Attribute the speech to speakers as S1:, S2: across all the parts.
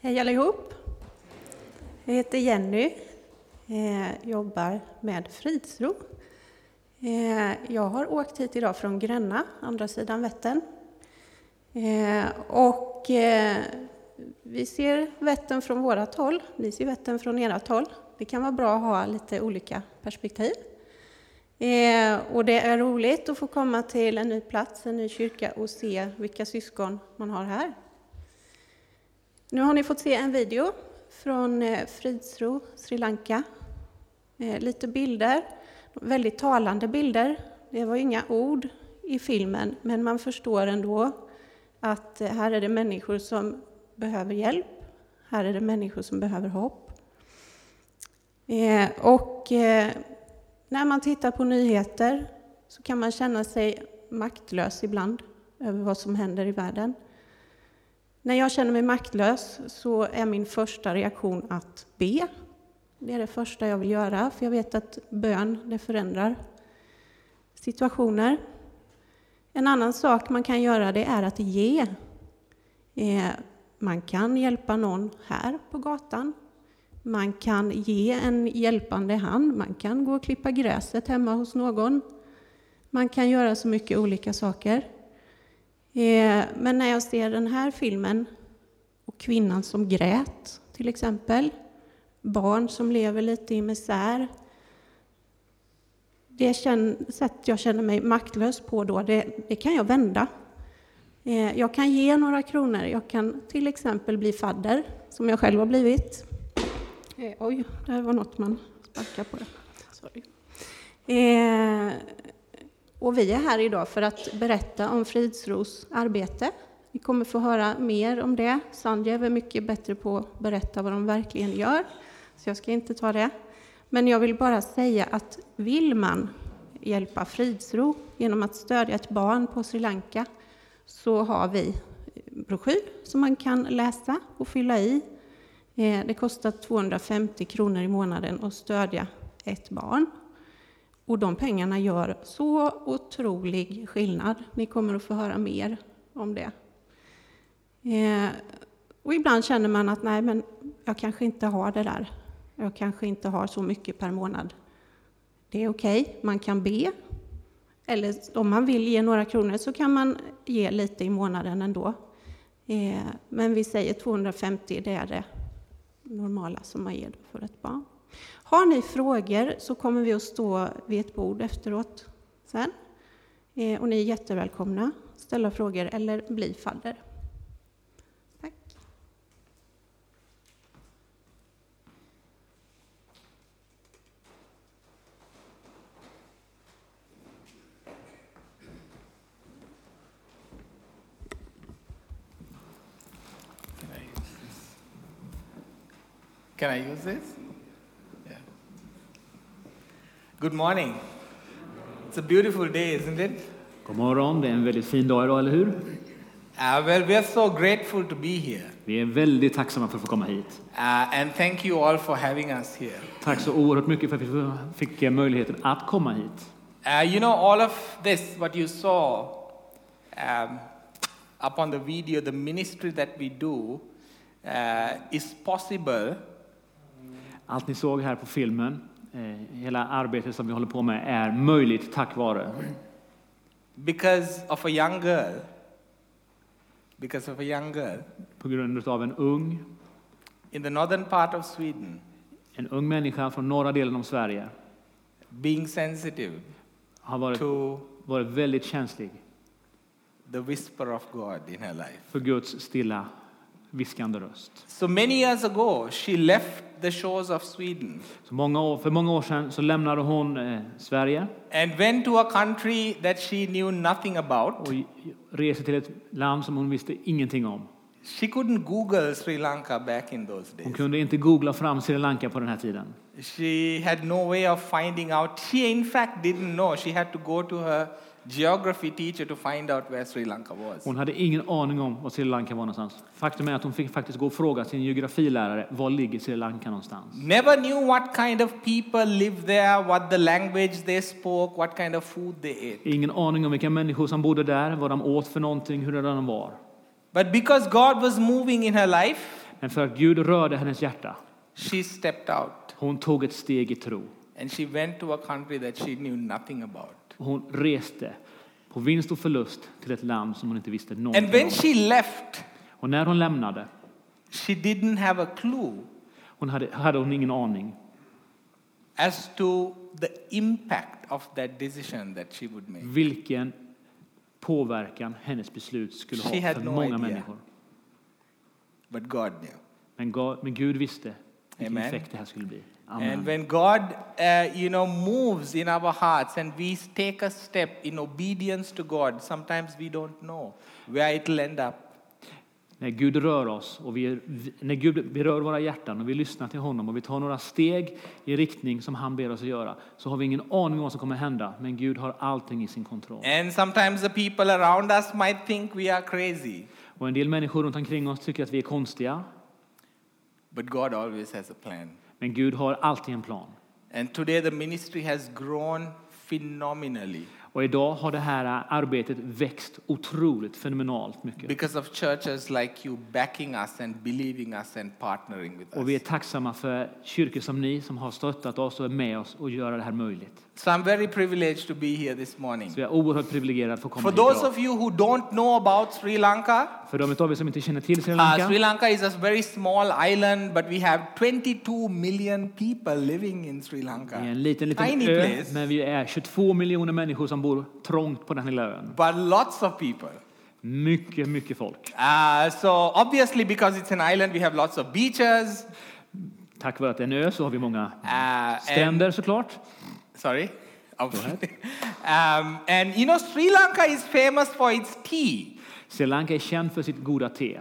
S1: Hej allihop! Jag heter Jenny. Eh, jobbar med Fridsro. Eh, jag har åkt hit idag från Gränna, andra sidan Vättern. Eh, och eh, vi ser Vättern från vårat håll, ni ser Vättern från ert håll. Det kan vara bra att ha lite olika perspektiv. Eh, och det är roligt att få komma till en ny plats, en ny kyrka och se vilka syskon man har här. Nu har ni fått se en video från eh, Fridsro, Sri Lanka. Eh, lite bilder, väldigt talande bilder. Det var inga ord i filmen, men man förstår ändå att eh, här är det människor som behöver hjälp. Här är det människor som behöver hopp. Eh, och eh, när man tittar på nyheter så kan man känna sig maktlös ibland över vad som händer i världen. När jag känner mig maktlös så är min första reaktion att be. Det är det första jag vill göra, för jag vet att bön det förändrar situationer. En annan sak man kan göra det är att ge. Eh, Man kan hjälpa någon här på gatan. Man kan ge en hjälpande hand. Man kan gå och klippa gräset hemma hos någon. Man kan göra så mycket olika saker. Eh, Men när jag ser den här filmen och kvinnan som grät till exempel, barn som lever lite i misär. Det känn- sätt jag känner mig maktlös på då, det, det kan jag vända. Eh, Jag kan ge några kronor. Jag kan till exempel bli fadder, som jag själv har blivit. Eh, Oj, det här var något man sparkar på. Sorry. Eh, och vi är här idag för att berätta om Fridsros arbete. Ni kommer få höra mer om det. Sanjev är mycket bättre på att berätta vad de verkligen gör, så jag ska inte ta det. Men jag vill bara säga att vill man hjälpa Fridsro genom att stödja ett barn på Sri Lanka så har vi broschyr som man kan läsa och fylla i. Eh, Det kostar 250 kronor i månaden att stödja ett barn och de pengarna gör så otrolig skillnad. Ni kommer att få höra mer om det. Eh, och ibland känner man att nej, men jag kanske inte har det där. Jag kanske inte har så mycket per månad. Det är okej, man kan be. Eller om man vill ge några kronor så kan man ge lite i månaden ändå. Eh, men vi säger 250, det är det normala som man ger för ett barn. Har ni frågor så kommer vi att stå vid ett bord efteråt sen. Eh, och ni är jättevälkomna att ställa frågor eller bli fadder. Tack.
S2: Can I, can I use this? Yeah. Good morning. It's a beautiful day, isn't it?
S3: God morgon, det är en väldigt fin dag idag, eller hur?
S2: Uh, well, we are so grateful to be here.
S3: Vi är väldigt tacksamma för att få komma hit.
S2: Uh, and thank you all for having us here.
S3: Tack så oerhört mycket för att vi fick eh, möjligheten att komma hit.
S2: Uh, you know, all of this, what you saw um, up on the video, the ministry that we do uh, is possible
S3: Allt ni såg här på filmen, eh, hela arbetet som vi håller på med, är möjligt tack vare.
S2: because of a young girl. Because of a young girl.
S3: På grund av en ung,
S2: in the northern part of Sweden
S3: en ung människa från norra delen av Sverige
S2: being sensitive
S3: har varit,
S2: to
S3: varit väldigt känslig
S2: the whisper of God in her life.
S3: för Guds stilla, viskande röst.
S2: So many years ago, she left the shores of Sweden
S3: Så många år, för många år sedan så lämnade hon eh, Sverige
S2: and went to a country that she knew nothing about.
S3: och reste till ett land som hon visste ingenting om.
S2: She couldn't Google Sri Lanka back in those
S3: Hon
S2: days.
S3: kunde inte googla fram Sri Lanka på den här tiden.
S2: She had no way of finding out. She, in fact, didn't know. She had to go to her geography teacher to find out where Sri Lanka was.
S3: Hon hade ingen aning om var Sri Lanka var någonstans. Faktum är att hon fick faktiskt gå och fråga sin geografilärare var ligger Sri Lanka någonstans.
S2: Never knew what kind of people lived there, what the language they spoke, what kind of food they ate.
S3: Ingen aning om vilka människor som bodde där, vad de åt för någonting, hur de var.
S2: But because God was moving in her life,
S3: Men för att Gud rörde hennes hjärta,
S2: she stepped out
S3: hon tog ett steg i tro.
S2: and she went to a country that she knew nothing about.
S3: Hon reste på vinst och förlust till ett land som hon inte visste
S2: And
S3: någonting
S2: when
S3: om.
S2: she left,
S3: Och när hon lämnade
S2: she didn't have a clue
S3: hon hade, hade hon ingen aning
S2: as to the impact of that decision that she would make.
S3: vilken påverkan hennes beslut skulle
S2: She
S3: ha
S2: had
S3: för
S2: no
S3: många
S2: idea.
S3: människor.
S2: But God knew.
S3: Men, Ga- men Gud visste vilken
S2: Amen.
S3: effekt det här skulle bli.
S2: And
S3: Amen.
S2: when God, uh, you know, moves in our hearts and we take a step in obedience to God, sometimes we don't know where it'll end up.
S3: När Gud rör oss och vi, vi- när Gud berör våra hjärtan och vi lyssnar till honom och vi tar några steg i riktning som han ber oss att göra så har vi ingen aning om vad som kommer hända. Men Gud har allting i sin kontroll.
S2: And sometimes the people around us might think we are crazy,
S3: Och en del människor runt omkring oss tycker att vi är konstiga.
S2: but God always has a plan.
S3: Men Gud har alltid en plan.
S2: And today the ministry has grown phenomenally
S3: Och idag har det här arbetet växt otroligt fenomenalt mycket.
S2: because of churches like you backing us and believing us and partnering with
S3: Och vi är
S2: us.
S3: tacksamma för kyrkor som ni som har stöttat oss och är med oss och göra det här möjligt.
S2: So I'm very privileged to be here this morning.
S3: Så jag är oerhört privilegierad att få komma
S2: For
S3: hit
S2: those
S3: idag.
S2: of you who don't know about Sri Lanka,
S3: För de av er som inte känner till Sri
S2: Uh, Sri Lanka
S3: Lanka
S2: is a very small island, but we have 22 million people living in Sri Lanka.
S3: är en liten, liten
S2: Tiny
S3: ö,
S2: place,
S3: men vi är 22 miljoner människor som bor trångt på den lilla ön.
S2: but lots of people.
S3: Mycket, mycket folk.
S2: Uh, so obviously, because it's an island, we have lots of beaches.
S3: Tack vare att det är en ö så har vi många
S2: Uh, and,
S3: stränder såklart.
S2: sorry. um, and you know, Sri Lanka is famous for its tea,
S3: Sri Lanka är känd för sitt goda te.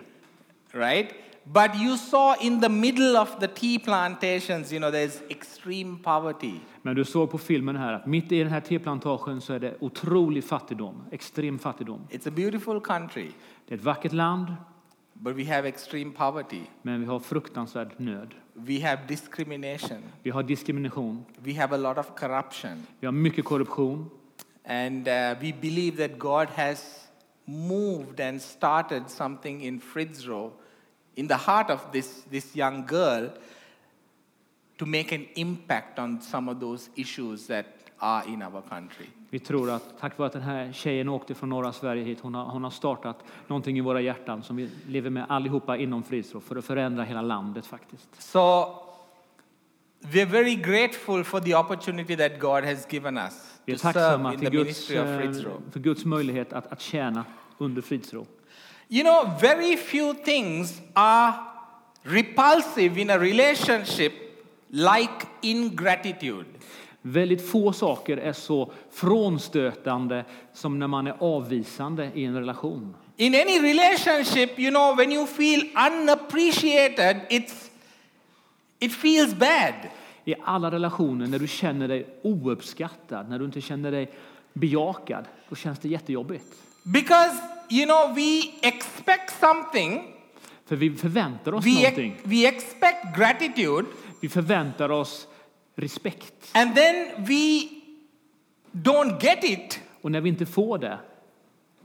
S2: right? But you saw in the middle of the tea plantations, you know, there's extreme poverty.
S3: Men du såg på filmen här att mitt i den här teplantagen så är det otrolig fattigdom, extrem fattigdom.
S2: It's a beautiful country,
S3: Det är ett vackert land,
S2: but we have extreme poverty.
S3: men vi har fruktansvärd nöd.
S2: We have discrimination.
S3: Vi har diskrimination,
S2: We have a lot of corruption.
S3: vi har mycket korruption
S2: And uh, we believe that God has moved and started something in Fritzro, in the heart of this, this young girl, to make an impact on some of those issues that are in our country.
S3: Vi tror att tack vare att den här tjejen åkte från norra Sverige hit, hon har, hon har startat någonting i våra hjärtan som vi lever med allihopa inom Frisro för att förändra hela landet faktiskt.
S2: So we're very grateful for the opportunity that God has given us
S3: Vi är
S2: to serve
S3: tacksamma
S2: in
S3: till
S2: the
S3: Guds,
S2: ministry of
S3: eh,
S2: Fritzro.
S3: för Guds möjlighet att, att tjäna under Frisro.
S2: You know, very few things are repulsive in a relationship like ingratitude.
S3: Väldigt få saker är så frånstötande som när man är avvisande i en relation.
S2: In any relationship, you know, when you feel unappreciated, it's it feels bad.
S3: I alla relationer, när du känner dig ouppskattad, när du inte känner dig bejakad, då känns det jättejobbigt.
S2: Because you know, we expect something.
S3: För vi förväntar oss
S2: We,
S3: någonting.
S2: ex- we expect gratitude
S3: Vi förväntar oss respekt.
S2: and then we don't get it,
S3: Och när vi inte får det,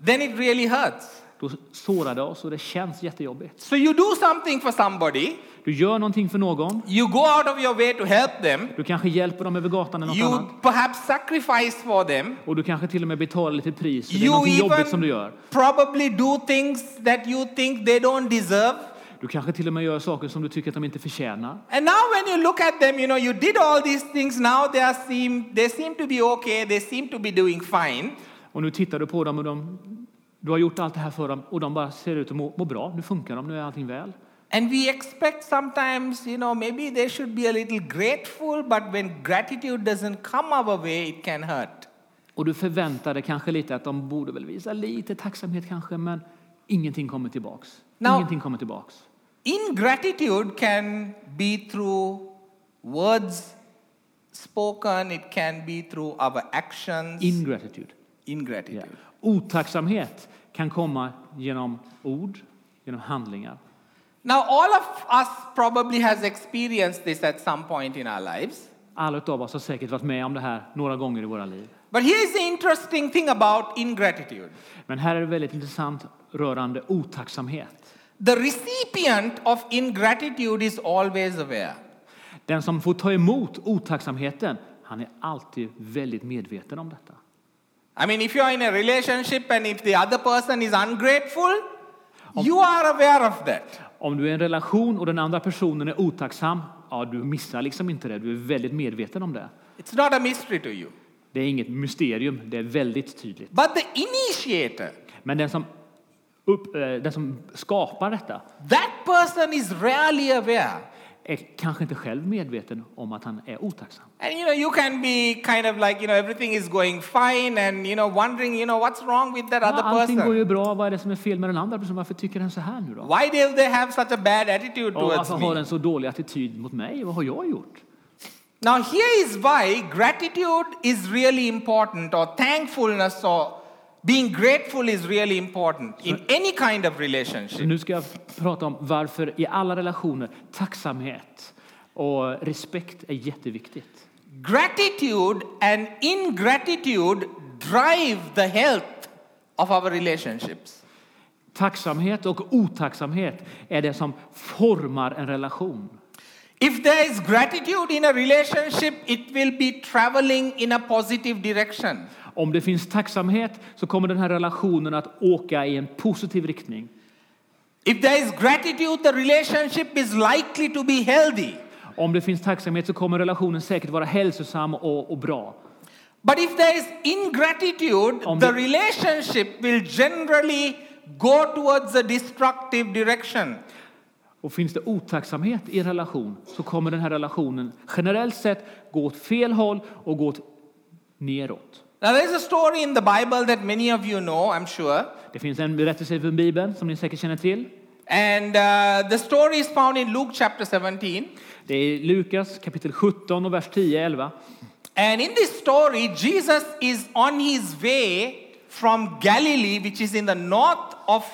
S2: then it really hurts.
S3: då sårar det oss och det känns jättejobbigt.
S2: So you do something for somebody,
S3: Du gör någonting för någon.
S2: you go out of your way to help them,
S3: Du kanske hjälper dem över gatan eller något
S2: You
S3: annat.
S2: perhaps sacrifice for them.
S3: Och du kanske till och med betalar lite pris för det är
S2: You
S3: någonting jobbigt som du
S2: even
S3: gör.
S2: probably do things that you think they don't deserve.
S3: Du kanske till och med gör saker som du tycker att de inte förtjänar.
S2: And now when you look at them, you know, you did all these things. Now they are seem they seem to be okay. They seem to be doing fine.
S3: Och nu tittar du på dem och de, du har gjort allt det här för dem och de bara ser ut att må, må bra. Nu funkar de, nu är allting väl.
S2: And we expect sometimes, you know, maybe they should be a little grateful, but when gratitude doesn't come our way, it can hurt.
S3: Och du förväntar dig kanske lite att de borde väl visa lite tacksamhet kanske, men ingenting kommer tillbaks.
S2: Now-
S3: Ingenting kommer tillbaks.
S2: Ingratitude can be through words spoken, it can be through our actions.
S3: Ingratitude.
S2: Ingratitude.
S3: Otacksamhet kan komma genom ord, genom handlingar.
S2: Now, all of us probably has experienced this at some point in our lives.
S3: Alla utav oss har säkert varit med om det här några gånger i våra liv.
S2: But here's the interesting thing about ingratitude
S3: Men här är det väldigt intressant rörande otacksamhet.
S2: The recipient of ingratitude is always aware.
S3: Den som får ta emot otacksamheten, han är alltid väldigt medveten om detta.
S2: I mean, if you're in a relationship and if the other person is ungrateful, you are aware of that.
S3: Om du är i en relation och den andra personen är otacksam, ja, du missar liksom inte det. Du är väldigt medveten om det.
S2: It's not a mystery to you.
S3: Det är inget mysterium, det är väldigt tydligt.
S2: But the initiator,
S3: Men den som, upp, eh, den som skapar detta
S2: that person is rarely aware.
S3: är kanske inte själv medveten om att han är otacksam.
S2: And you know, you can be kind of like, you know, everything is going fine and, you know, wondering, you know, what's wrong with that
S3: Ja,
S2: other
S3: allting går ju
S2: person?
S3: bra, vad är det som är fel med den andra personen? Varför tycker den så här nu då?
S2: Why do they have such a bad attitude
S3: Och
S2: towards
S3: varför har
S2: me?
S3: den så dålig attityd mot mig? Vad har jag gjort?
S2: Now, here is why gratitude is really important, or thankfulness, or being grateful is really important in any kind of
S3: Så
S2: relationship.
S3: nu ska jag prata om varför i alla relationer tacksamhet och respekt är jätteviktigt.
S2: Gratitude and ingratitude drive the health of our relationships.
S3: Tacksamhet och otacksamhet är det som formar en relation.
S2: If there is gratitude in a relationship, it will be traveling in a positive direction.
S3: Om det finns tacksamhet så kommer den här relationen att åka i en positiv riktning.
S2: If there is gratitude, the relationship is likely to be healthy.
S3: Om det finns tacksamhet så kommer relationen säkert vara hälsosam och, och bra.
S2: But if there is ingratitude,
S3: Om
S2: the
S3: det-
S2: relationship will generally go towards a destructive direction.
S3: Och finns det otacksamhet i en relation så kommer den här relationen generellt sett gå åt fel håll och gå åt neråt.
S2: Now, there's a story in the Bible that many of you know, I'm sure.
S3: Det finns en berättelse från Bibeln som ni säkert känner till.
S2: And uh, the story is found in Luke chapter 17.
S3: Det är Lukas kapitel 17 och vers 10-11.
S2: And in this story, Jesus is on his way from Galilee, which is in the north of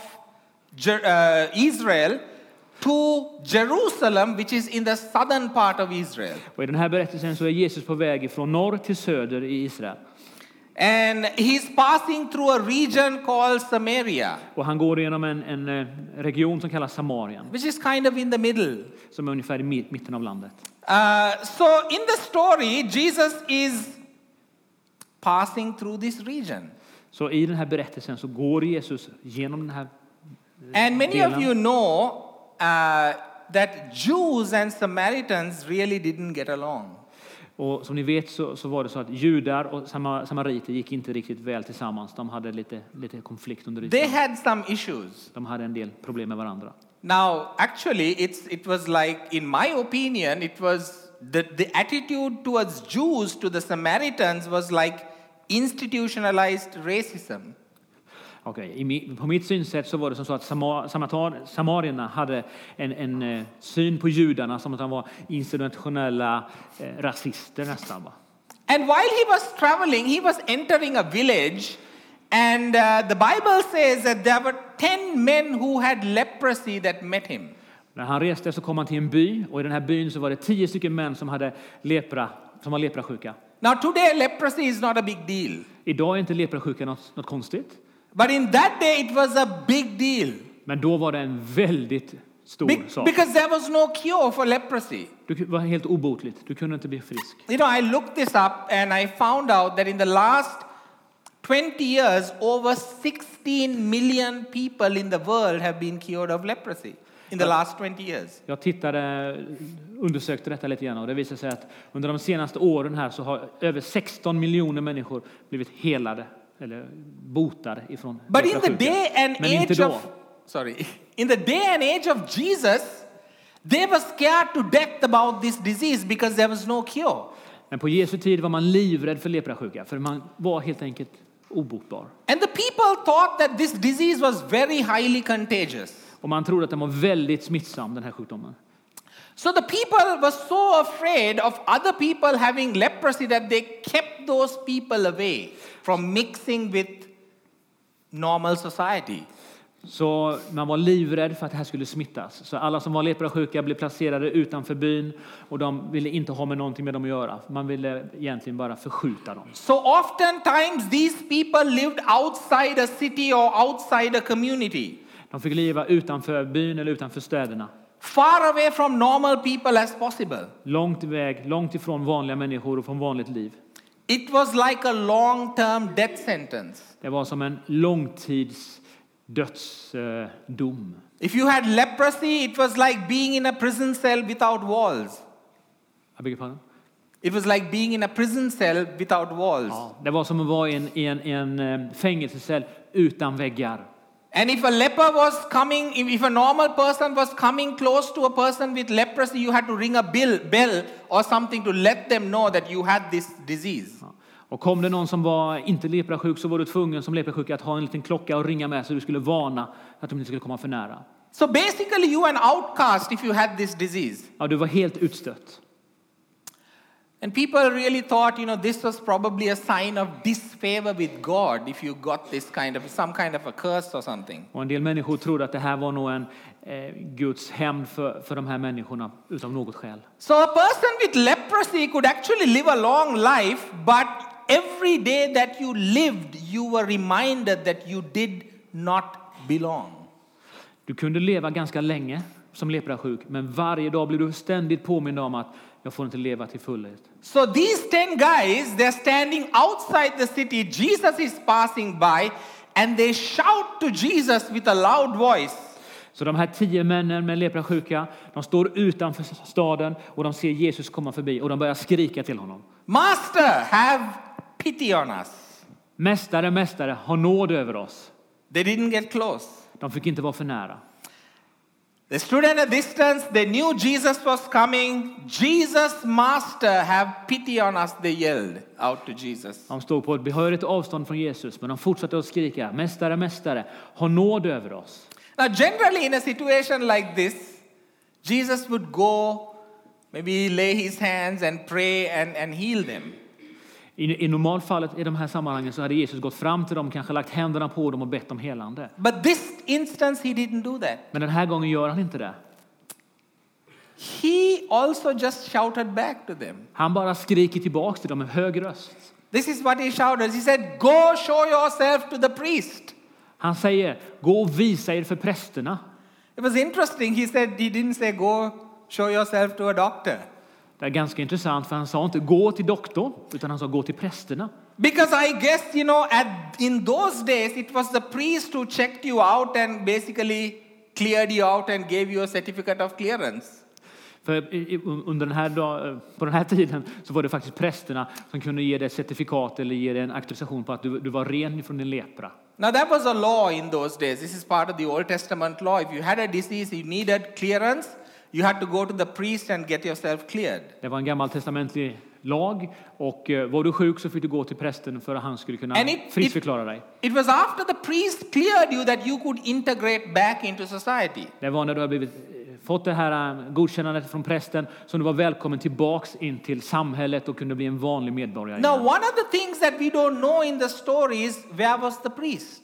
S2: Jer- uh, Israel, to Jerusalem, which is in the southern part of Israel.
S3: Och I den här berättelsen så är Jesus på väg från norr till söder i Israel.
S2: And he's passing through a region called Samaria,
S3: Och han går genom en, en eh, region som kallas Samarien,
S2: which is kind of in the middle.
S3: som är ungefär i mi- mitten av landet.
S2: Uh, so, in the story, Jesus is passing through this region.
S3: Så i den här berättelsen så går Jesus genom den här...
S2: And many of
S3: Dylan.
S2: you know uh, that Jews and Samaritans really didn't get along.
S3: Och som ni vet så, så var det så att judar och samar- samariter gick inte riktigt väl tillsammans. De hade lite, lite konflikt under
S2: They
S3: ytan.
S2: had some issues.
S3: De hade en del problem med varandra.
S2: Now, actually, it's, it was like, in my opinion, it was the, the attitude towards Jews to the Samaritans was like institutionalized racism.
S3: Okej, i mi- på mitt synsätt så var det som så att samar, samatar, samarierna hade en, en eh, syn på judarna som att de var institutionella eh, rasister nästan. Va?
S2: And while he was traveling, he was entering a village, and uh, the Bible says that there were 10 men who had leprosy that met him.
S3: När han reste så kom han till en by och i den här byn så var det tio stycken män som, hade lepra, som var leprasjuka.
S2: Now, today, leprosy is not a big deal.
S3: Idag är inte leprasjuka något, något konstigt,
S2: But in that day, it was a big deal.
S3: men då var det en väldigt stor
S2: Be-
S3: sak.
S2: because there was no cure for leprosy.
S3: Du ku- var helt obotligt, du kunde inte bli frisk.
S2: You know, I looked this up and I found out that in the last 20 years, over 16 million people in the world have been cured of leprosy in the last 20 years.
S3: Jag tittade, undersökte detta lite grann och det visade sig att under de senaste åren här så har över 16 miljoner människor blivit helade eller botade ifrån
S2: But in the
S3: leprasjuka.
S2: day and
S3: Men inte
S2: age
S3: då.
S2: of sorry, in the day and age of Jesus, they were scared to death about this disease because there was no cure.
S3: Men på Jesu tid var man livrädd för leprasjuka för man var helt enkelt obotbar.
S2: And the people thought that this disease was very highly contagious.
S3: Och man trodde att den var väldigt smittsam den här sjukdomen.
S2: So the people were so afraid of other people having leprosy that they kept those people away from mixing with normal society.
S3: Så man var livrädd för att det här skulle smittas. Så alla som var leprasjuka blev placerade utanför byn och de ville inte ha med någonting med dem att göra. Man ville egentligen bara förskjuta dem.
S2: So oftentimes these people lived outside a city or outside a community.
S3: De fick leva utanför byn eller utanför städerna.
S2: far away from normal people as possible.
S3: Långt iväg, långt ifrån vanliga människor och från vanligt liv.
S2: It was like a long term death sentence.
S3: Det var som en långtids dödsdom.
S2: If you had leprosy, it was like being in a prison cell without walls.
S3: Jag bygger pardon?
S2: It was like being in a prison cell without walls.
S3: Det var som att vara i en, i en, i en eh, fängelsecell utan väggar.
S2: And if a leper was coming, if if a normal person was coming close to a person with leprosy, you had to ring a bill, bell or something to let them know that you had this disease.
S3: Ja. Och kom det någon som var inte leprasjuk så var du tvungen som leprasjuk att ha en liten klocka och ringa med så du skulle varna att de inte skulle komma för nära.
S2: So basically, you were an outcast if you had this disease.
S3: Ja, du var helt utstött.
S2: And people really thought, you know, this was probably a sign of disfavor with God if you got this kind of, some kind of a curse or something.
S3: Och en del människor trodde att det här var nog en eh, Guds hämnd för, för de här människorna utav något skäl.
S2: So a person with leprosy could actually live a long life, but every day that you lived, you were reminded that you did not belong.
S3: Du kunde leva ganska länge som leprasjuk, men varje dag blev du ständigt påmind om att jag får inte leva till fullhet.
S2: So these 10 guys, they're standing outside the city. Jesus is passing by, and they shout to Jesus with a loud voice.
S3: Så de här tio männen med leprasjuka, de står utanför staden och de ser Jesus komma förbi och de börjar skrika till honom.
S2: Master, have pity on us.
S3: Mästare, mästare, ha nåd över oss.
S2: They didn't get close.
S3: De fick inte vara för nära.
S2: They stood at a distance. They knew Jesus was coming. Jesus, Master, have pity on us, they yelled out to Jesus.
S3: De stod på ett behörigt avstånd från Jesus, men de fortsatte att skrika. Mästare, mästare, ha nåd över oss.
S2: Now, generally, in a situation like this, Jesus would go, maybe lay his hands and pray and, and heal them.
S3: I, I normalfallet i de här sammanhangen så hade Jesus gått fram till dem, kanske lagt händerna på dem och bett om helande.
S2: But this instance, he didn't do that.
S3: Men den här gången gör han inte det.
S2: He also just shouted back to them.
S3: Han bara skriker tillbaks till dem med hög röst.
S2: This is what he shouted. He said, Go show yourself to the priest.
S3: Han säger, gå och visa er för prästerna.
S2: It was interesting. He said, He didn't say, Go show yourself to a doctor.
S3: Det är ganska intressant för han sa inte gå till doktorn, utan han sa gå till prästerna.
S2: Because I guess, you know, at, in those days, it was the priest who checked you out and basically cleared you out and gave you a certificate of clearance.
S3: För i- i- under den här dag, eh, på den här tiden så var det faktiskt prästerna som kunde ge dig ett certifikat eller ge dig en auktorisation på att du, du var ren från din lepra.
S2: Now, that was a law in those days. This is part of the Old Testament law. If you had a disease, you needed clearance, you had to go to the priest and get yourself cleared.
S3: Det var en gammaltestamentlig lag och eh, var du sjuk så fick du gå till prästen för att han skulle kunna
S2: And it-
S3: friskförklara dig.
S2: It was after the priest cleared you that you could integrate back into society.
S3: Det var när du hade blivit, eh, fått det här eh, godkännandet från prästen som du var välkommen tillbaks in till samhället och kunde bli en vanlig medborgare.
S2: Now,
S3: igen.
S2: one of the things that we don't know in the story is where was the priest?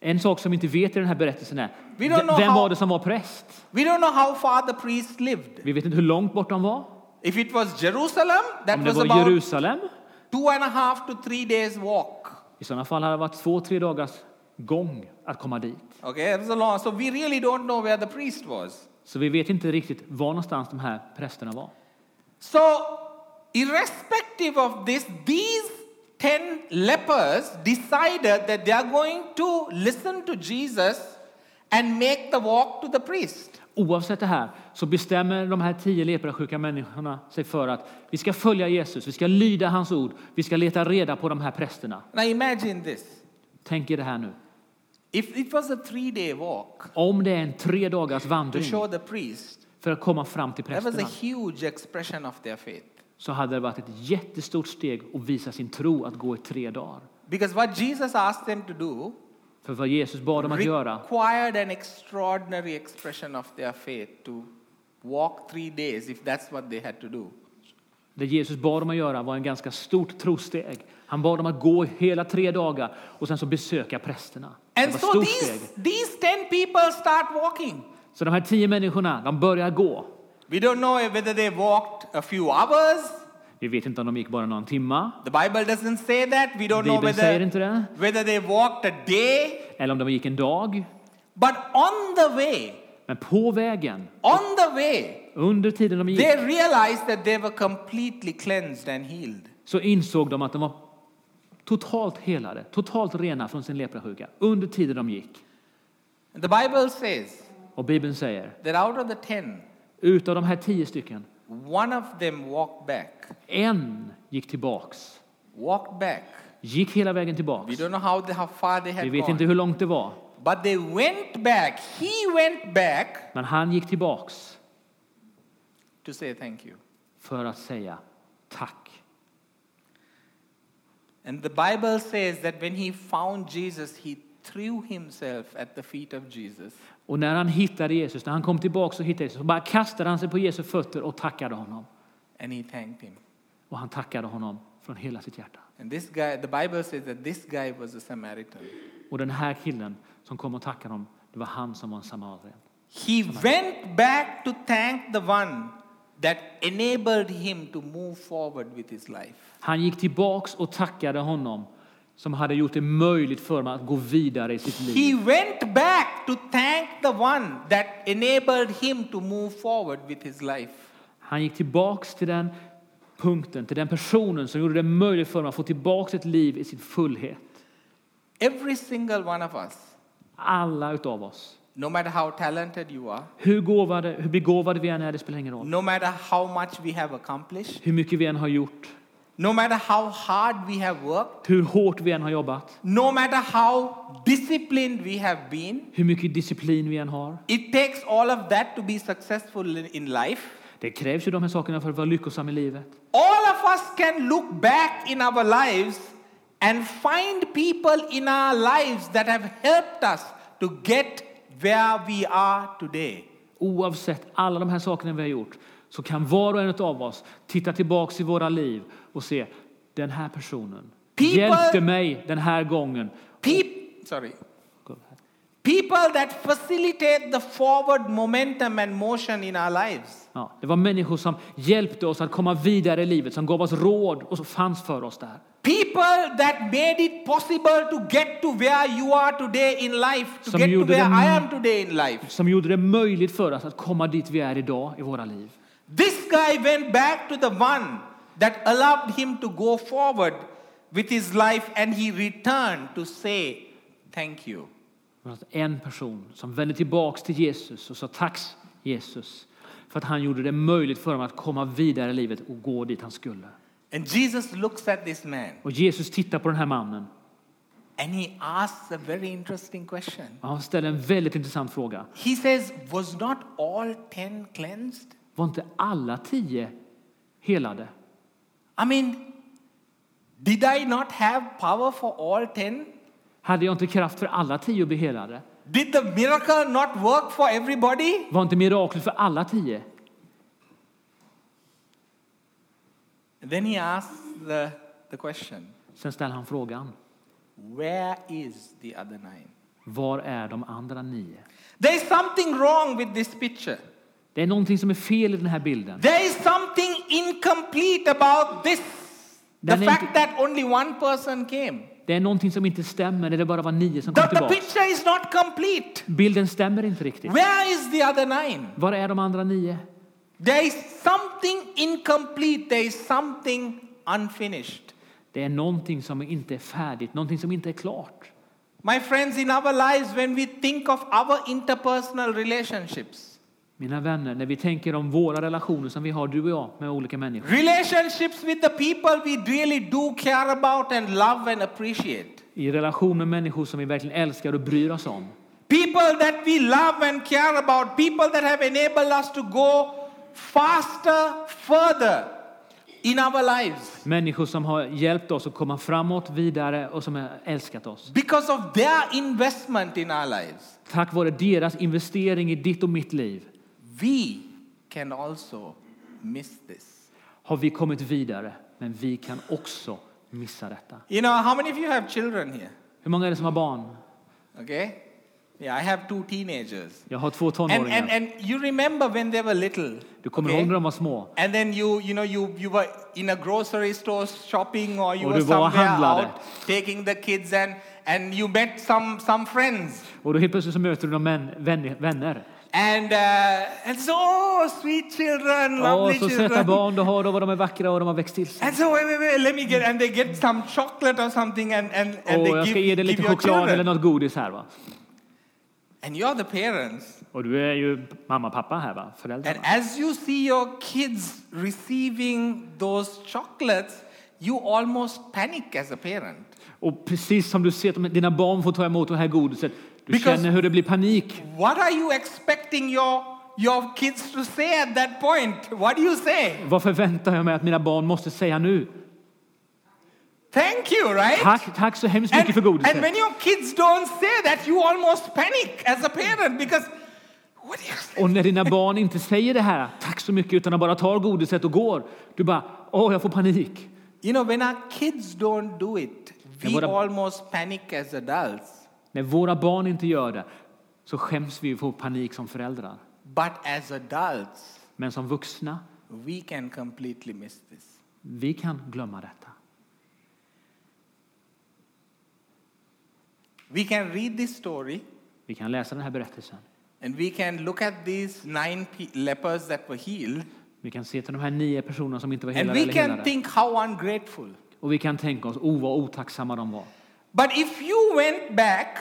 S3: En sak som vi inte vet i den här berättelsen är,
S2: We don't know
S3: vem
S2: how-
S3: var det som var präst?
S2: We don't know how far the priest lived.
S3: Vi vet inte hur långt bort de var.
S2: If it was Jerusalem, that
S3: Om det
S2: was
S3: var
S2: about
S3: Jerusalem,
S2: two and a half to three days walk.
S3: i sådana fall hade det varit två, tre dagars gång att komma dit.
S2: Okay, it was a long. So we really don't know where the priest was.
S3: Så vi vet inte riktigt var någonstans de här prästerna var.
S2: So, irrespective of this, these ten lepers decided that they are going to listen to Jesus and make the walk to the priest.
S3: Oavsett det här så bestämmer de här tio leprasjuka människorna sig för att vi ska följa Jesus, vi ska lyda hans ord, vi ska leta reda på de här prästerna.
S2: Now imagine this.
S3: Tänk er det här nu.
S2: If it was a three day walk
S3: Om det är en tre dagars
S2: to
S3: vandring
S2: show the priest,
S3: för att komma fram till
S2: that was a
S3: prästerna
S2: huge expression of their faith.
S3: så hade det varit ett jättestort steg att visa sin tro att gå i tre dagar.
S2: Because what Jesus asked them to do
S3: För vad Jesus bad dem att göra
S2: required an extraordinary expression of their faith to walk three days if that's what they had to do.
S3: Det Jesus bad dem att göra var en ganska stort trosteg. Han bad dem att gå hela tre dagar och sen så besöka prästerna. Det
S2: And
S3: var ett
S2: so
S3: stort steg.
S2: these, these 10 people start walking.
S3: Så de här tio människorna, de börjar gå.
S2: We don't know whether they walked a few hours.
S3: Vi vet inte om de gick bara någon timma.
S2: The Bible doesn't say that. We don't know
S3: Bibeln säger
S2: whether,
S3: inte det.
S2: whether they walked a day
S3: Eller om de gick en dag.
S2: But on the way,
S3: Men på vägen,
S2: on the way,
S3: under tiden de gick,
S2: they realized that they were completely cleansed and healed.
S3: så insåg de att de var totalt helade, totalt rena från sin leprasjuka. Under tiden de gick.
S2: And the Bible says
S3: Och Bibeln säger,
S2: that out of the ten,
S3: utav de här tio stycken,
S2: one of them walked back.
S3: en gick tillbaks.
S2: Walked back.
S3: Gick hela vägen
S2: We
S3: tillbaks.
S2: don't know how, they, how far they
S3: Vi
S2: had
S3: vet inte
S2: gone.
S3: hur långt det var,
S2: But they went back. He went back
S3: men han gick tillbaks
S2: to say thank you.
S3: för att säga tack.
S2: And the Bible says that when he found Jesus, he threw himself at the feet of Jesus.
S3: Och när han hittade Jesus, när han kom tillbaks och hittade Jesus, så bara kastade han sig på Jesu fötter och tackade honom.
S2: and he thanked him.
S3: Och han tackade honom från hela sitt hjärta.
S2: And this guy, the Bible says that this guy was a Samaritan.
S3: Och den här killen som kom och tackade honom, det var han som var en samarien.
S2: He went back to thank the one that enabled him to move forward with his life.
S3: Han gick tillbaks och tackade honom som hade gjort det möjligt för honom att gå vidare i sitt
S2: He
S3: liv.
S2: went back to thank the one that enabled him to move forward with his life.
S3: Han gick tillbaks till den punkten, till den personen som gjorde det möjligt för honom att få tillbaks ett liv i sin fullhet.
S2: Every single one of us,
S3: Alla utav oss.
S2: no matter how talented you are,
S3: Hur, gåvade, hur begåvade vi än är, det spelar ingen roll.
S2: no matter how much we have accomplished,
S3: Hur mycket vi än har gjort,
S2: no matter how hard we have worked,
S3: hur hårt vi än har jobbat,
S2: no matter how disciplined we have been,
S3: hur mycket disciplin vi än har.
S2: It takes all of that to be successful in, in life.
S3: Det krävs ju de här sakerna för att vara lyckosam i livet.
S2: All of us can look back in our lives and find people in our lives that have helped us to get where we are today.
S3: Oavsett alla de här sakerna vi har gjort så kan var och en av oss titta tillbaks i våra liv och se den här personen
S2: People-
S3: hjälpte mig den här gången.
S2: Peop- sorry. People that facilitate the forward momentum and motion in our lives.
S3: Ja, det var människor som hjälpte oss att komma vidare i livet, som gav oss råd och som fanns för oss där.
S2: People that made it possible to get to where you are today in life, to
S3: Som
S2: get to
S3: gjorde
S2: where
S3: det-
S2: I am today in life.
S3: Som gjorde det möjligt för oss att komma dit vi är idag i våra liv.
S2: This guy went back to the one that allowed him to go forward with his life and he returned to say, Thank you.
S3: Men att en person som vände tillbaks till Jesus och sa tacks Jesus för att han gjorde det möjligt för honom att komma vidare i livet och gå dit han skulle.
S2: And Jesus looks at this man
S3: Och Jesus tittar på den här mannen
S2: and he asks a very interesting question.
S3: och han ställer en väldigt intressant fråga.
S2: He says, Was not all ten cleansed?
S3: Var inte alla tio helade?
S2: I mean, did I not have power for all ten?
S3: Hade jag inte kraft för alla tio att bli helade?
S2: Did the miracle not work for everybody?
S3: Var inte miraklet för alla tio?
S2: And then he asks the, the question
S3: Sen ställer han frågan.
S2: Where is the other nine?
S3: Var är de andra nio?
S2: There is something wrong with this picture.
S3: Det är någonting som är fel i den här bilden.
S2: There is something incomplete about this. The
S3: Then it-
S2: fact that only one person came.
S3: Det är någonting som inte stämmer när det bara var nio som
S2: The,
S3: kom
S2: the
S3: tillbaka.
S2: picture is not complete.
S3: Bilden stämmer inte riktigt.
S2: Where is the other nine?
S3: Var är de andra nio?
S2: There is something incomplete. There is something unfinished.
S3: Det är någonting som inte är färdigt, någonting som inte är klart.
S2: My friends, in our lives, when we think of our interpersonal relationships,
S3: Mina vänner, när vi tänker om våra relationer som vi har, du och jag, med olika människor.
S2: relationships with the people we really do care about and love and appreciate,
S3: I relation med människor som vi verkligen älskar och bryr oss om.
S2: People that we love and care about, people that have enabled us to go faster, further in our lives.
S3: Människor som har hjälpt oss att komma framåt, vidare och som har älskat oss.
S2: Because of their investment in our lives,
S3: Tack vare deras investering i ditt och mitt liv
S2: we can also miss this.
S3: har vi kommit vidare, men vi kan också missa detta.
S2: You know, how many of you have children here?
S3: Hur många är det som har barn?
S2: Okay? Yeah, I have two teenagers.
S3: Jag har två
S2: And,
S3: tonåringar.
S2: and, and you remember when they were little.
S3: du kommer
S2: okay?
S3: ihåg när de var små?
S2: And then you, you know, you, you were in a grocery store shopping or you Oh,
S3: Och
S2: were
S3: du var och
S2: somewhere
S3: handlade.
S2: out taking the kids and, and you met some, some friends.
S3: Och då helt plötsligt så möter du några män, vän, vänner.
S2: And, uh, and so, oh, sweet children,
S3: Åh,
S2: lovely
S3: så söta
S2: children.
S3: barn du har, då vad de är vackra och de har växt till sig.
S2: And so, wait, wait, wait, let me get, and they get some chocolate or something and, and, and
S3: Och
S2: they
S3: jag ska ge
S2: give,
S3: dig lite
S2: give your
S3: choklad eller
S2: children.
S3: något godis här va.
S2: And you're the parents.
S3: Och du är ju mamma, pappa här va,
S2: And
S3: föräldrarna.
S2: as you see your kids receiving those chocolates, you almost panic as a parent.
S3: Och precis som du ser att de- dina barn får ta emot det här godiset, du
S2: Because-
S3: känner hur det blir panik.
S2: What are you expecting your, your kids to say at that point? What do you say?
S3: Vad förväntar jag mig att mina barn måste säga nu?
S2: Thank you, right?
S3: Tack, tack så hemskt mycket
S2: And,
S3: för
S2: and
S3: godiset.
S2: when your kids don't say that, you almost panic as a parent because what do you say?
S3: Och när dina barn inte säger det här, tack så mycket, utan de bara tar godiset och går, du bara, åh, jag får panik.
S2: You know, when our kids don't do it,
S3: And
S2: we
S3: what ab-
S2: almost panic as adults.
S3: När våra barn inte gör det så skäms vi och får panik som föräldrar.
S2: But as adults,
S3: Men som vuxna,
S2: we can completely miss this.
S3: vi kan glömma detta.
S2: We can read this story
S3: Vi kan läsa den här berättelsen.
S2: and we can look at these nine pe- lepers that were healed
S3: Vi kan se till de här nio personerna som inte var
S2: and
S3: helade
S2: we
S3: eller
S2: can
S3: helade.
S2: think how ungrateful.
S3: Och vi kan tänka oss, oh vad otacksamma de var.
S2: But if you went back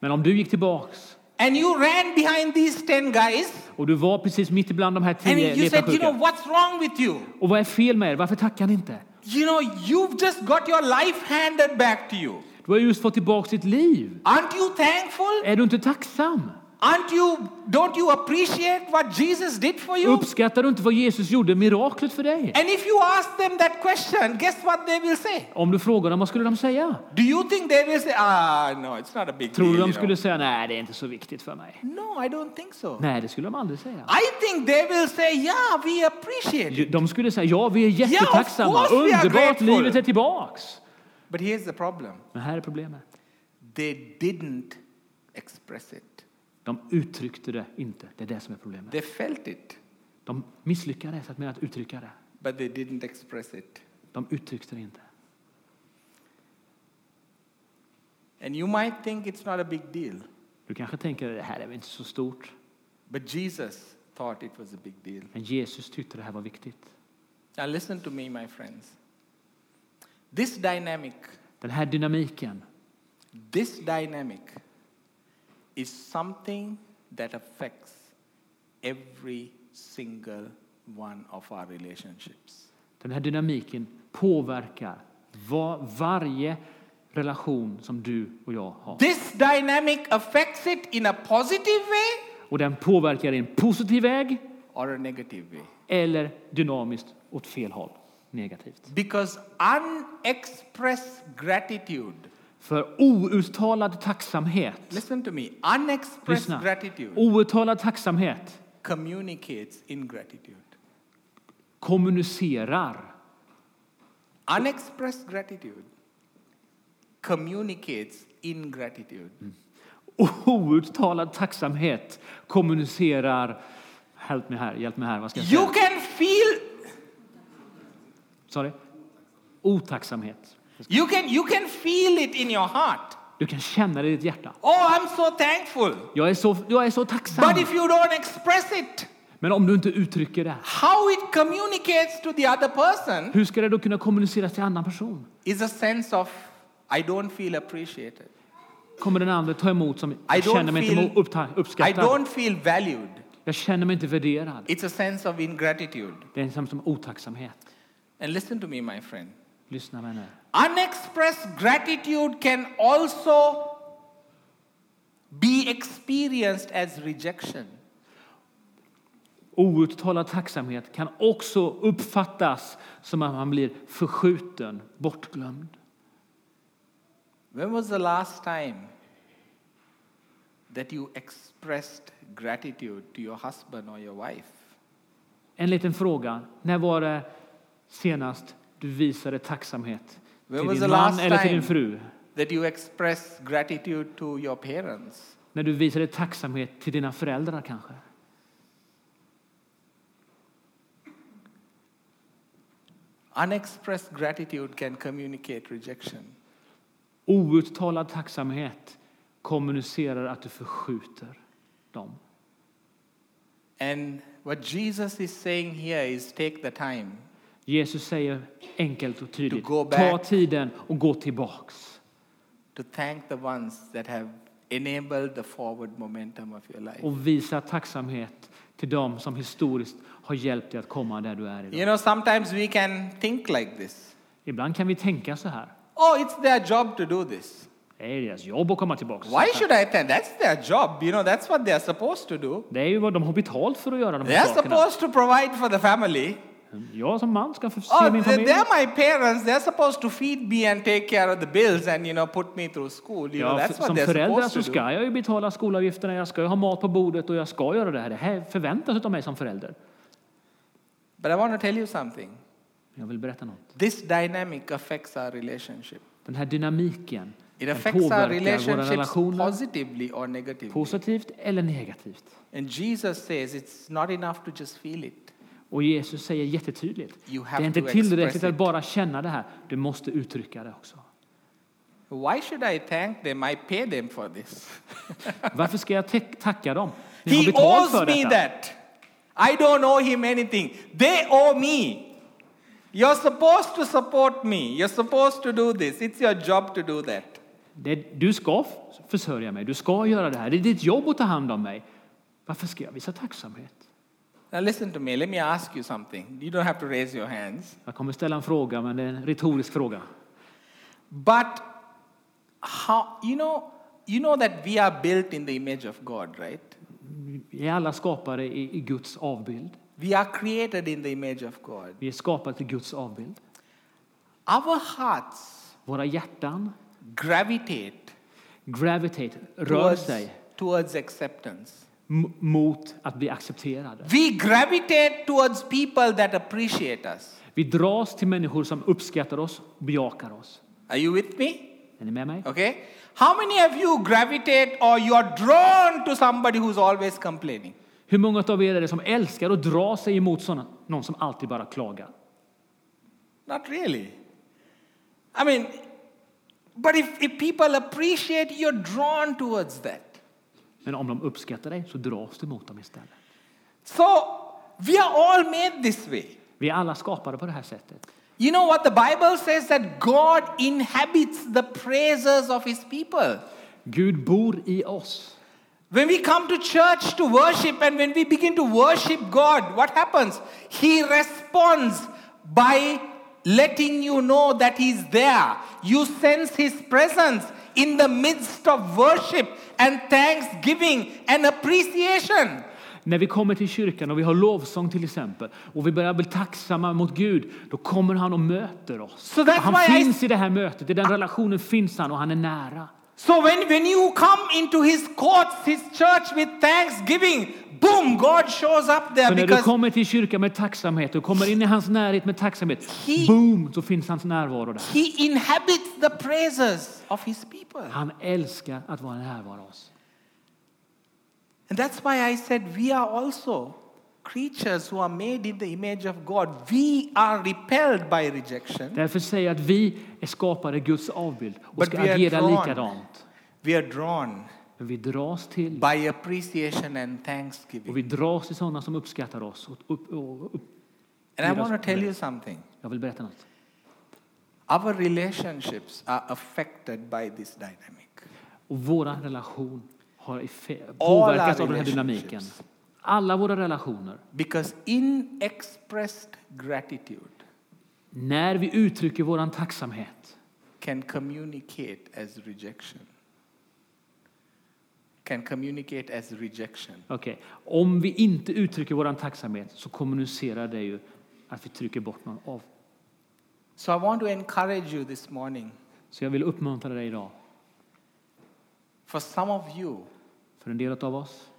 S3: Men om du gick tillbaks
S2: and you ran behind these 10 guys
S3: och du var precis mitt ibland de här
S2: and
S3: tio
S2: you said, you know,
S3: leparsjuka.
S2: what's wrong with you?
S3: Och vad är fel med er? Varför tackar ni inte?
S2: You know, you've just got your life handed back to you.
S3: Du har ju just fått tillbaks ditt liv.
S2: Aren't you thankful?
S3: Är du inte tacksam?
S2: Aren't you, don't you appreciate what Jesus did for you?
S3: Uppskattar du inte vad Jesus gjorde, miraklet för dig?
S2: And if you ask them that question, guess what they will say?
S3: Om du frågar dem, vad skulle de säga?
S2: Do you think they will say, ah, no, it's not a big
S3: Tror du
S2: deal?
S3: de
S2: you
S3: skulle
S2: know?
S3: säga, nej det är inte så viktigt för mig?
S2: No, I don't think so.
S3: Nej, det skulle de aldrig säga.
S2: I think they will say, yeah, we appreciate it.
S3: De skulle säga, ja vi är
S2: Ja,
S3: jättetacksamma,
S2: of course we are
S3: underbart,
S2: grateful.
S3: livet är tillbaks.
S2: But here's the problem
S3: Men här är problemet.
S2: they didn't express it,
S3: De uttryckte det inte, det är det som är problemet.
S2: they felt it,
S3: De misslyckades med att uttrycka det.
S2: but they didn't express it.
S3: De uttryckte det inte.
S2: And you might think it's not a big deal,
S3: Du kanske tänker, det här är väl inte så stort.
S2: but Jesus thought it was a big deal.
S3: Men Jesus tyckte det här var viktigt.
S2: Now, listen to me, my friends. This dynamic,
S3: Den här dynamiken,
S2: this dynamic is something that affects every single one of our relationships.
S3: den här dynamiken påverkar var, varje relation som du och jag har.
S2: This dynamic affects it in a positive way
S3: Och den påverkar i en positiv väg
S2: or a negative way.
S3: eller dynamiskt åt fel håll, negativt.
S2: Because unexpressed gratitude,
S3: För outtalad tacksamhet,
S2: listen to me, unexpressed
S3: lyssna,
S2: gratitude
S3: outtalad tacksamhet
S2: communicates ingratitude.
S3: kommunicerar
S2: Unexpressed gratitude communicates ingratitude.
S3: outtalad tacksamhet kommunicerar... Hjälp mig här, hjälp mig här. Vad ska jag
S2: You
S3: säga?
S2: can feel
S3: Sorry. Otacksamhet.
S2: you can you can feel it in your heart.
S3: Du kan känna det i ditt hjärta.
S2: Oh, I'm so thankful.
S3: Jag är så, jag är så tacksam.
S2: But if you don't express it,
S3: Men om du inte uttrycker det,
S2: how it communicates to the other person
S3: hur ska det då kunna kommuniceras till en annan person?
S2: is a sense of I don't feel appreciated.
S3: Kommer den andra ta emot som
S2: I
S3: jag
S2: don't
S3: känner mig
S2: feel-
S3: inte uppta,
S2: I
S3: uppskattad?
S2: don't feel valued.
S3: Jag känner mig inte värderad.
S2: It's a sense of ingratitude.
S3: Det är en som- som otacksamhet.
S2: And listen to me, my friend.
S3: Lyssna vänner.
S2: Unexpressed gratitude can also be experienced as rejection.
S3: Outtalad tacksamhet kan också uppfattas som att man blir förskjuten, bortglömd.
S2: When was the last time that you expressed gratitude to your husband or your wife?
S3: En liten fråga. När var det senast du visade tacksamhet
S2: When
S3: till
S2: was
S3: din
S2: the
S3: man
S2: last
S3: eller till
S2: time?
S3: din fru?
S2: That you express gratitude to your parents?
S3: När du visade tacksamhet till dina föräldrar kanske.
S2: Unexpressed gratitude can communicate rejection.
S3: Outtalad tacksamhet kommunicerar att du förskjuter dem.
S2: And what Jesus is saying here is take the time.
S3: Jesus säger enkelt och tydligt,
S2: To go
S3: ta
S2: back.
S3: tiden och gå tillbaks.
S2: to thank the ones that have enabled the forward momentum of your life.
S3: Och visa tacksamhet till dem som historiskt har hjälpt dig att komma där du är idag.
S2: You know, sometimes we can think like this
S3: Ibland kan vi tänka så här.
S2: oh, it's their job to do this.
S3: Det är deras jobb att komma tillbaks.
S2: Why should I thank? That's their job. You know, that's what they're supposed to do.
S3: Det är ju vad de har betalt för att göra de här
S2: They're
S3: sakerna.
S2: supposed to provide for the family.
S3: Jag som man ska förse
S2: Oh,
S3: min
S2: they-
S3: familj.
S2: they're my parents. They're supposed to feed me and take care of the bills and, you know, put me through school. You know,
S3: Ja,
S2: that's
S3: f-
S2: what
S3: som
S2: they're
S3: förälder
S2: supposed
S3: så
S2: to do.
S3: ska jag ju betala skolavgifterna, jag ska ju ha mat på bordet och jag ska göra det här. Det här förväntas av mig som förälder.
S2: But I want to tell you something.
S3: Jag vill berätta något.
S2: This dynamic affects our relationship.
S3: Den här dynamiken
S2: It
S3: den
S2: affects our
S3: påverkar våra
S2: relationships
S3: relationer
S2: positively or negatively.
S3: positivt eller negativt.
S2: And Jesus says it's not enough to just feel it.
S3: Och Jesus säger jättetydligt,
S2: You
S3: det är
S2: have
S3: inte
S2: to express
S3: tillräckligt
S2: it.
S3: att bara känna det här, du måste uttrycka det också.
S2: Why should I thank them? I pay them for this.
S3: Varför ska jag te- tacka dem? Ni har
S2: He
S3: betalt för
S2: owes me
S3: detta.
S2: that. I don't owe him anything. They owe me. You're supposed to support me. You're supposed to do this. It's your job to do that.
S3: Det, du ska f- försörja mig, du ska göra det här, det är ditt jobb att ta hand om mig. Varför ska jag visa tacksamhet?
S2: Now, listen to me. Let me ask you something. You don't have to raise your hands.
S3: Jag kommer ställa en fråga, men det är en retorisk fråga.
S2: But how, you know, you know that we are built in the image of God, right?
S3: Vi är alla skapade i, i Guds avbild.
S2: We are created in the image of God.
S3: Vi är skapade i Guds avbild.
S2: Our hearts
S3: Våra hjärtan
S2: gravitate
S3: gravitate, rör
S2: towards,
S3: sig
S2: towards acceptance.
S3: m- mot att bli accepterade.
S2: We gravitate towards people that appreciate us.
S3: Vi dras till människor som uppskattar oss och bejakar oss.
S2: Are you with me?
S3: Är ni med mig?
S2: Okay. How many of you gravitate or you are drawn to somebody who's always complaining?
S3: Hur många av er är det som älskar och drar sig emot såna, någon som alltid bara klagar?
S2: Not really. I mean, but if, if people appreciate you, you're drawn towards that.
S3: Men om de uppskattar dig så dras du mot dem istället.
S2: So we are all made this way.
S3: Vi är alla skapade på det här sättet.
S2: You know what the Bible says that God inhabits the praises of his people.
S3: Gud bor i oss.
S2: When we come to church to worship and when we begin to worship God, what happens? He responds by letting you know that He's there. You sense His presence in the midst of worship and thanksgiving and appreciation.
S3: När vi kommer till kyrkan och vi har lovsång till exempel och vi börjar bli tacksamma mot Gud, då kommer han och möter oss.
S2: So
S3: och
S2: that's
S3: han
S2: why I-
S3: finns i det här mötet, i den relationen finns han och han är nära.
S2: So when, when you come into His courts, His church with thanksgiving, boom, God shows up there
S3: Så när du
S2: because
S3: kommer till kyrkan med tacksamhet och kommer in i hans närhet med tacksamhet,
S2: He-
S3: boom, så finns hans närvaro där.
S2: He inhabits the praises of His people.
S3: Han älskar att vara närvarande oss.
S2: And that's why I said we are also creatures who are made in the image of God. We are repelled by rejection.
S3: Därför säger jag att vi är skapade i Guds avbild och
S2: But
S3: ska
S2: we are
S3: agera
S2: drawn.
S3: likadant.
S2: We are drawn
S3: Men vi dras till
S2: by appreciation and
S3: och
S2: thanksgiving.
S3: vi dras till sådana som uppskattar oss. Och upp, och upp.
S2: And I
S3: we
S2: want to
S3: are-
S2: tell you something.
S3: Jag vill berätta något.
S2: Our relationships are affected by this dynamic.
S3: Och vår relation har effe-
S2: All our
S3: påverkats av den här dynamiken.
S2: relationships.
S3: Alla våra relationer.
S2: Because in expressed gratitude
S3: När vi uttrycker vår tacksamhet
S2: can communicate as rejection. Can communicate as rejection.
S3: Okej. Om vi inte uttrycker vår tacksamhet så kommunicerar det ju att vi trycker bort någon av.
S2: So I want to encourage you this morning.
S3: Så jag vill uppmuntra dig idag.
S2: For some of you,
S3: För en del av oss.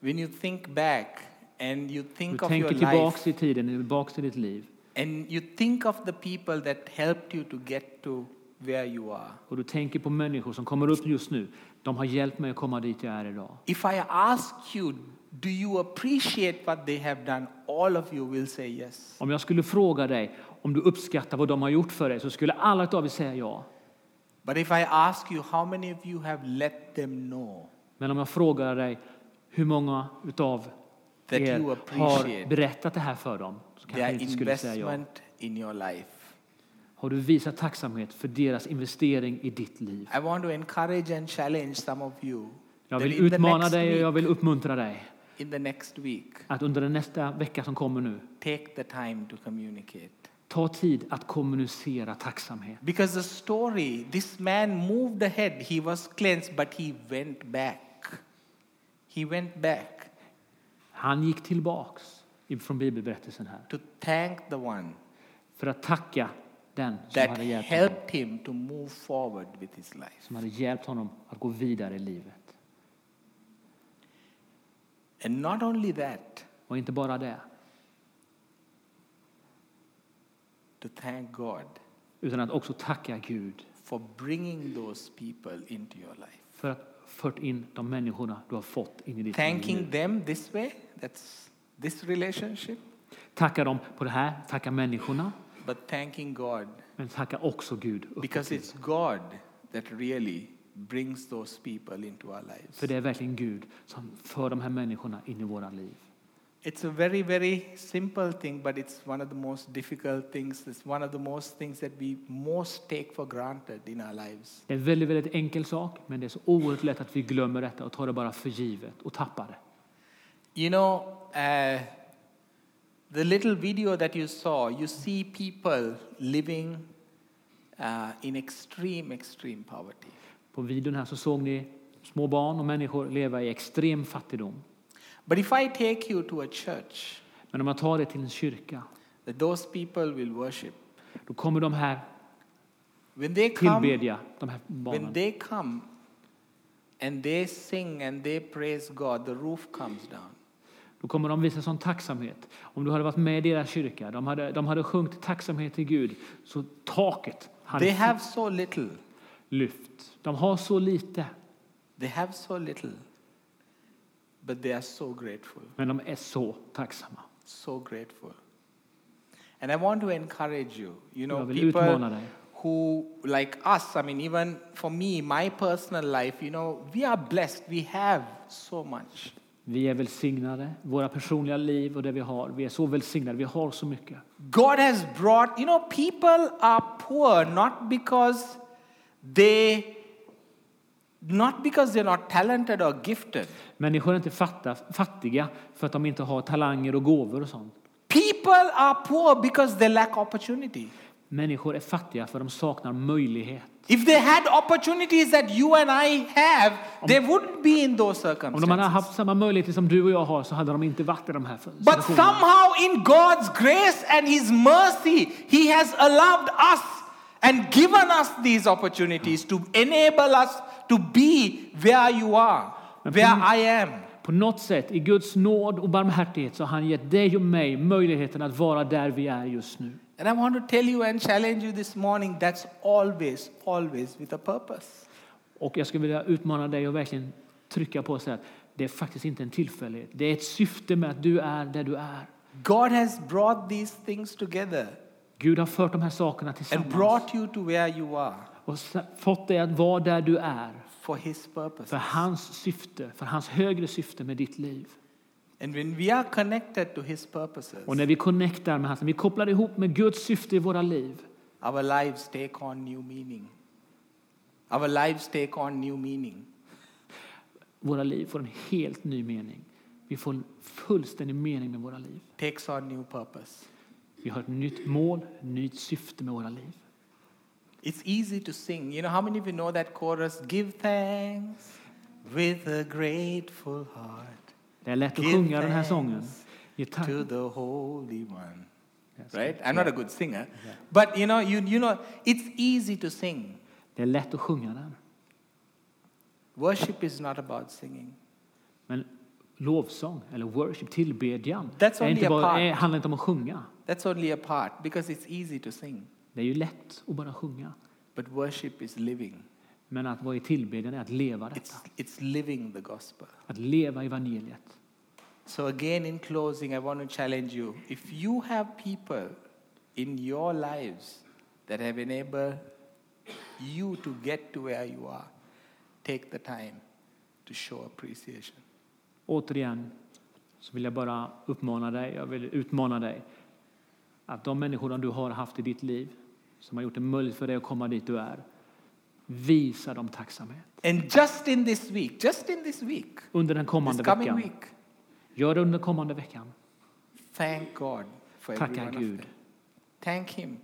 S2: when you think back and you
S3: Du
S2: think of your
S3: tänker
S2: life
S3: tillbaks i tiden, tillbaks i ditt liv.
S2: and you think of the people that helped you to get to where you are,
S3: Och du tänker på människor som kommer upp just nu. De har hjälpt mig att komma dit jag är idag.
S2: If I ask you, do you appreciate what they have done? All of you will say yes.
S3: Om jag skulle fråga dig om du uppskattar vad de har gjort för dig så skulle alla av er säga ja.
S2: But if I ask you, how many of you have let them know
S3: Men om jag frågar dig hur många utav
S2: That
S3: er
S2: you
S3: har
S2: appreciate
S3: berättat det här för dem så
S2: their
S3: kanske du inte skulle säga ja.
S2: investment in your life?
S3: Har du visat tacksamhet för deras investering i ditt liv?
S2: I want to encourage and challenge some of you
S3: Jag
S2: that
S3: vill
S2: in the
S3: utmana
S2: next
S3: dig och jag
S2: week,
S3: vill uppmuntra dig
S2: in the next week,
S3: att under den nästa vecka som kommer nu
S2: take the time to communicate.
S3: ta tid att kommunicera tacksamhet.
S2: Because the story, this man moved ahead, he was cleansed, but he went back. He went back
S3: Han gick tillbaks från bibelberättelsen här
S2: to thank the one
S3: för att tacka den som
S2: that
S3: hade hjälpt honom,
S2: helped him to move forward with his life.
S3: som hade hjälpt honom att gå vidare i livet.
S2: And not only that,
S3: Och inte bara det,
S2: to thank God
S3: utan att också tacka Gud
S2: for bringing those people into your life.
S3: för att fört in de människorna du har fått in i ditt liv.
S2: Thanking them this way, that's this relationship,
S3: Tacka dem på det här, tacka människorna,
S2: but thanking God
S3: men tacka också Gud. uppåt
S2: because
S3: till.
S2: it's God that really brings those people into our lives.
S3: För det är verkligen Gud som för de här människorna in i våra liv.
S2: It's a very, very simple thing, but it's one of the most difficult things. It's one of the most things that we most take for granted in our lives.
S3: Det är en väldigt, väldigt enkel sak, men det är så oerhört lätt att vi glömmer detta och tar det bara för givet och tappar det.
S2: You know, uh, the little video that you saw, you see people living uh, in extreme, extreme poverty.
S3: På videon här så såg ni små barn och människor leva i extrem fattigdom.
S2: But if I take you to a church
S3: Men om man tar det till en kyrka,
S2: that those people will worship,
S3: då kommer de här
S2: when they come,
S3: tillbedja, de här
S2: when
S3: barnen.
S2: they come and they sing and they praise God, the roof comes down.
S3: Då kommer de visa sån tacksamhet. Om du hade varit med i deras kyrka, de hade, de hade sjungit tacksamhet till Gud, så taket
S2: They
S3: hade
S2: have so little.
S3: lyft. De har så lite,
S2: They have so little. But they are so grateful.
S3: men de är så tacksamma.
S2: so grateful. And I want to encourage you. You know,
S3: Jag vill utmana
S2: people
S3: dig.
S2: who, like us, I mean, even for me, my personal life, you know, we are blessed. We have so much.
S3: Vi är välsignade, våra personliga liv och det vi har. Vi är så välsignade, vi har så mycket.
S2: God has brought, you know, people are poor not because they, not because they're not talented or gifted.
S3: Människor är inte fatta, fattiga för att de inte har talanger och gåvor och sånt.
S2: People are poor because they lack opportunity.
S3: Människor är fattiga för de saknar möjlighet.
S2: If they had opportunities that you and I have, they wouldn't be in those
S3: Om de hade
S2: circumstances.
S3: haft samma möjligheter som du och jag har så hade de inte varit i de här
S2: But
S3: situationerna.
S2: somehow, in God's grace and His mercy, He has allowed us and given us these opportunities to enable us to be where you are, where I am.
S3: På något sätt, i Guds nåd och barmhärtighet, så har han gett dig och mig möjligheten att vara där vi är just nu.
S2: And I want to tell you and challenge you this morning that's always, always with a purpose.
S3: Och jag skulle vilja utmana dig och verkligen trycka på och säga att det är faktiskt inte en tillfällighet. Det är ett syfte med att du är där du är.
S2: God has brought these things together
S3: Gud har fört de här sakerna
S2: and
S3: tillsammans
S2: brought you to where you are
S3: och sa- fått dig att vara där du är
S2: for His purpose.
S3: för hans syfte, för hans högre syfte med ditt liv.
S2: And when we are connected to His purposes,
S3: Och när vi connectar med hans, när vi kopplar ihop med Guds syfte i våra liv,
S2: our lives take on new meaning. Our lives take on new meaning.
S3: våra liv får en helt ny mening. Vi får en fullständig mening med våra liv.
S2: Takes on new purpose.
S3: Vi har ett nytt mål, ett nytt syfte med våra liv.
S2: It's easy to sing. You know how many of you know that chorus? Give thanks with a grateful heart
S3: Det är lätt att
S2: Give
S3: sjunga den här
S2: thanks
S3: sången. Ge tack.
S2: to the Holy One.
S3: Yes.
S2: Right? I'm not a good singer, but you know, you, you know, it's easy to sing.
S3: Det är lätt att sjunga den.
S2: Worship is not about singing.
S3: Men lovsång, eller worship, tillbedjan,
S2: That's
S3: är
S2: only
S3: inte
S2: a
S3: bara,
S2: part.
S3: är, handlar inte om att sjunga.
S2: That's only a part because it's easy to sing,
S3: Det är ju lätt att bara sjunga.
S2: but worship is living.
S3: Men att vara i tillbedjan är att leva detta.
S2: It's, it's living the gospel.
S3: Att leva evangeliet.
S2: So, again, in closing, I want to challenge you. If you have people in your lives that have enabled you to get to where you are, take the time to show appreciation.
S3: Återigen så vill jag bara uppmana dig, jag vill utmana dig att de människorna du har haft i ditt liv som har gjort det möjligt för dig att komma dit du är, visa dem tacksamhet.
S2: And just in this week, just in this week,
S3: Under den
S2: this
S3: kommande
S2: coming
S3: veckan.
S2: week,
S3: Gör det under den kommande veckan.
S2: thank God for every
S3: Tacka
S2: one of
S3: Gud.
S2: them. Thank Him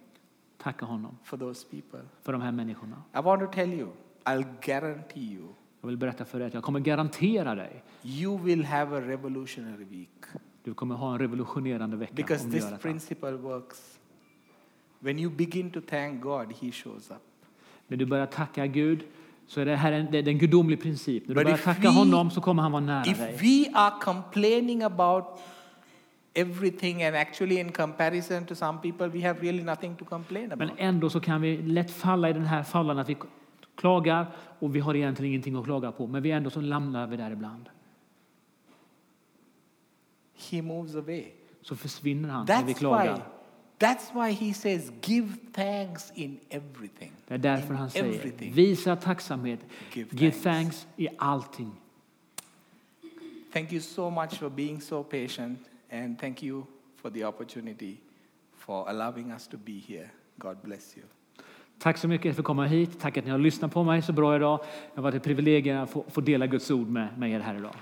S3: Tacka honom
S2: for those people.
S3: för de här människorna.
S2: I want to tell you, I'll guarantee you,
S3: Jag vill berätta för dig att jag kommer garantera dig
S2: you will have a revolutionary week
S3: du kommer ha en revolutionerande vecka
S2: because
S3: om du
S2: this
S3: gör detta.
S2: principle works. When you begin to thank God, He shows up.
S3: När du börjar tacka Gud så är det här en, det är en gudomlig princip. När du
S2: But
S3: börjar
S2: if
S3: tacka
S2: we-
S3: honom så kommer han vara nära
S2: If
S3: dig.
S2: we are complaining about everything, and actually, in comparison to some people, we have really nothing to complain
S3: Men
S2: about.
S3: ändå så kan vi lätt falla i den här fallan att vi klagar och vi har egentligen ingenting att klaga på. Men vi ändå så lamnar vi där ibland.
S2: He moves away.
S3: Så försvinner han när vi
S2: That's why,
S3: klagar.
S2: that's why he says, give thanks in everything.
S3: Det är därför
S2: in
S3: han säger
S2: everything.
S3: visa tacksamhet,
S2: Give
S3: give
S2: thanks."
S3: thanks i allting.
S2: Thank you so much for being so patient, and thank you for the opportunity for allowing us to be here. God bless you.
S3: Tack så mycket för att komma hit. Tack att ni har lyssnat på mig så bra idag. Det har varit ett privilegium att få, få dela Guds ord med, med er här idag.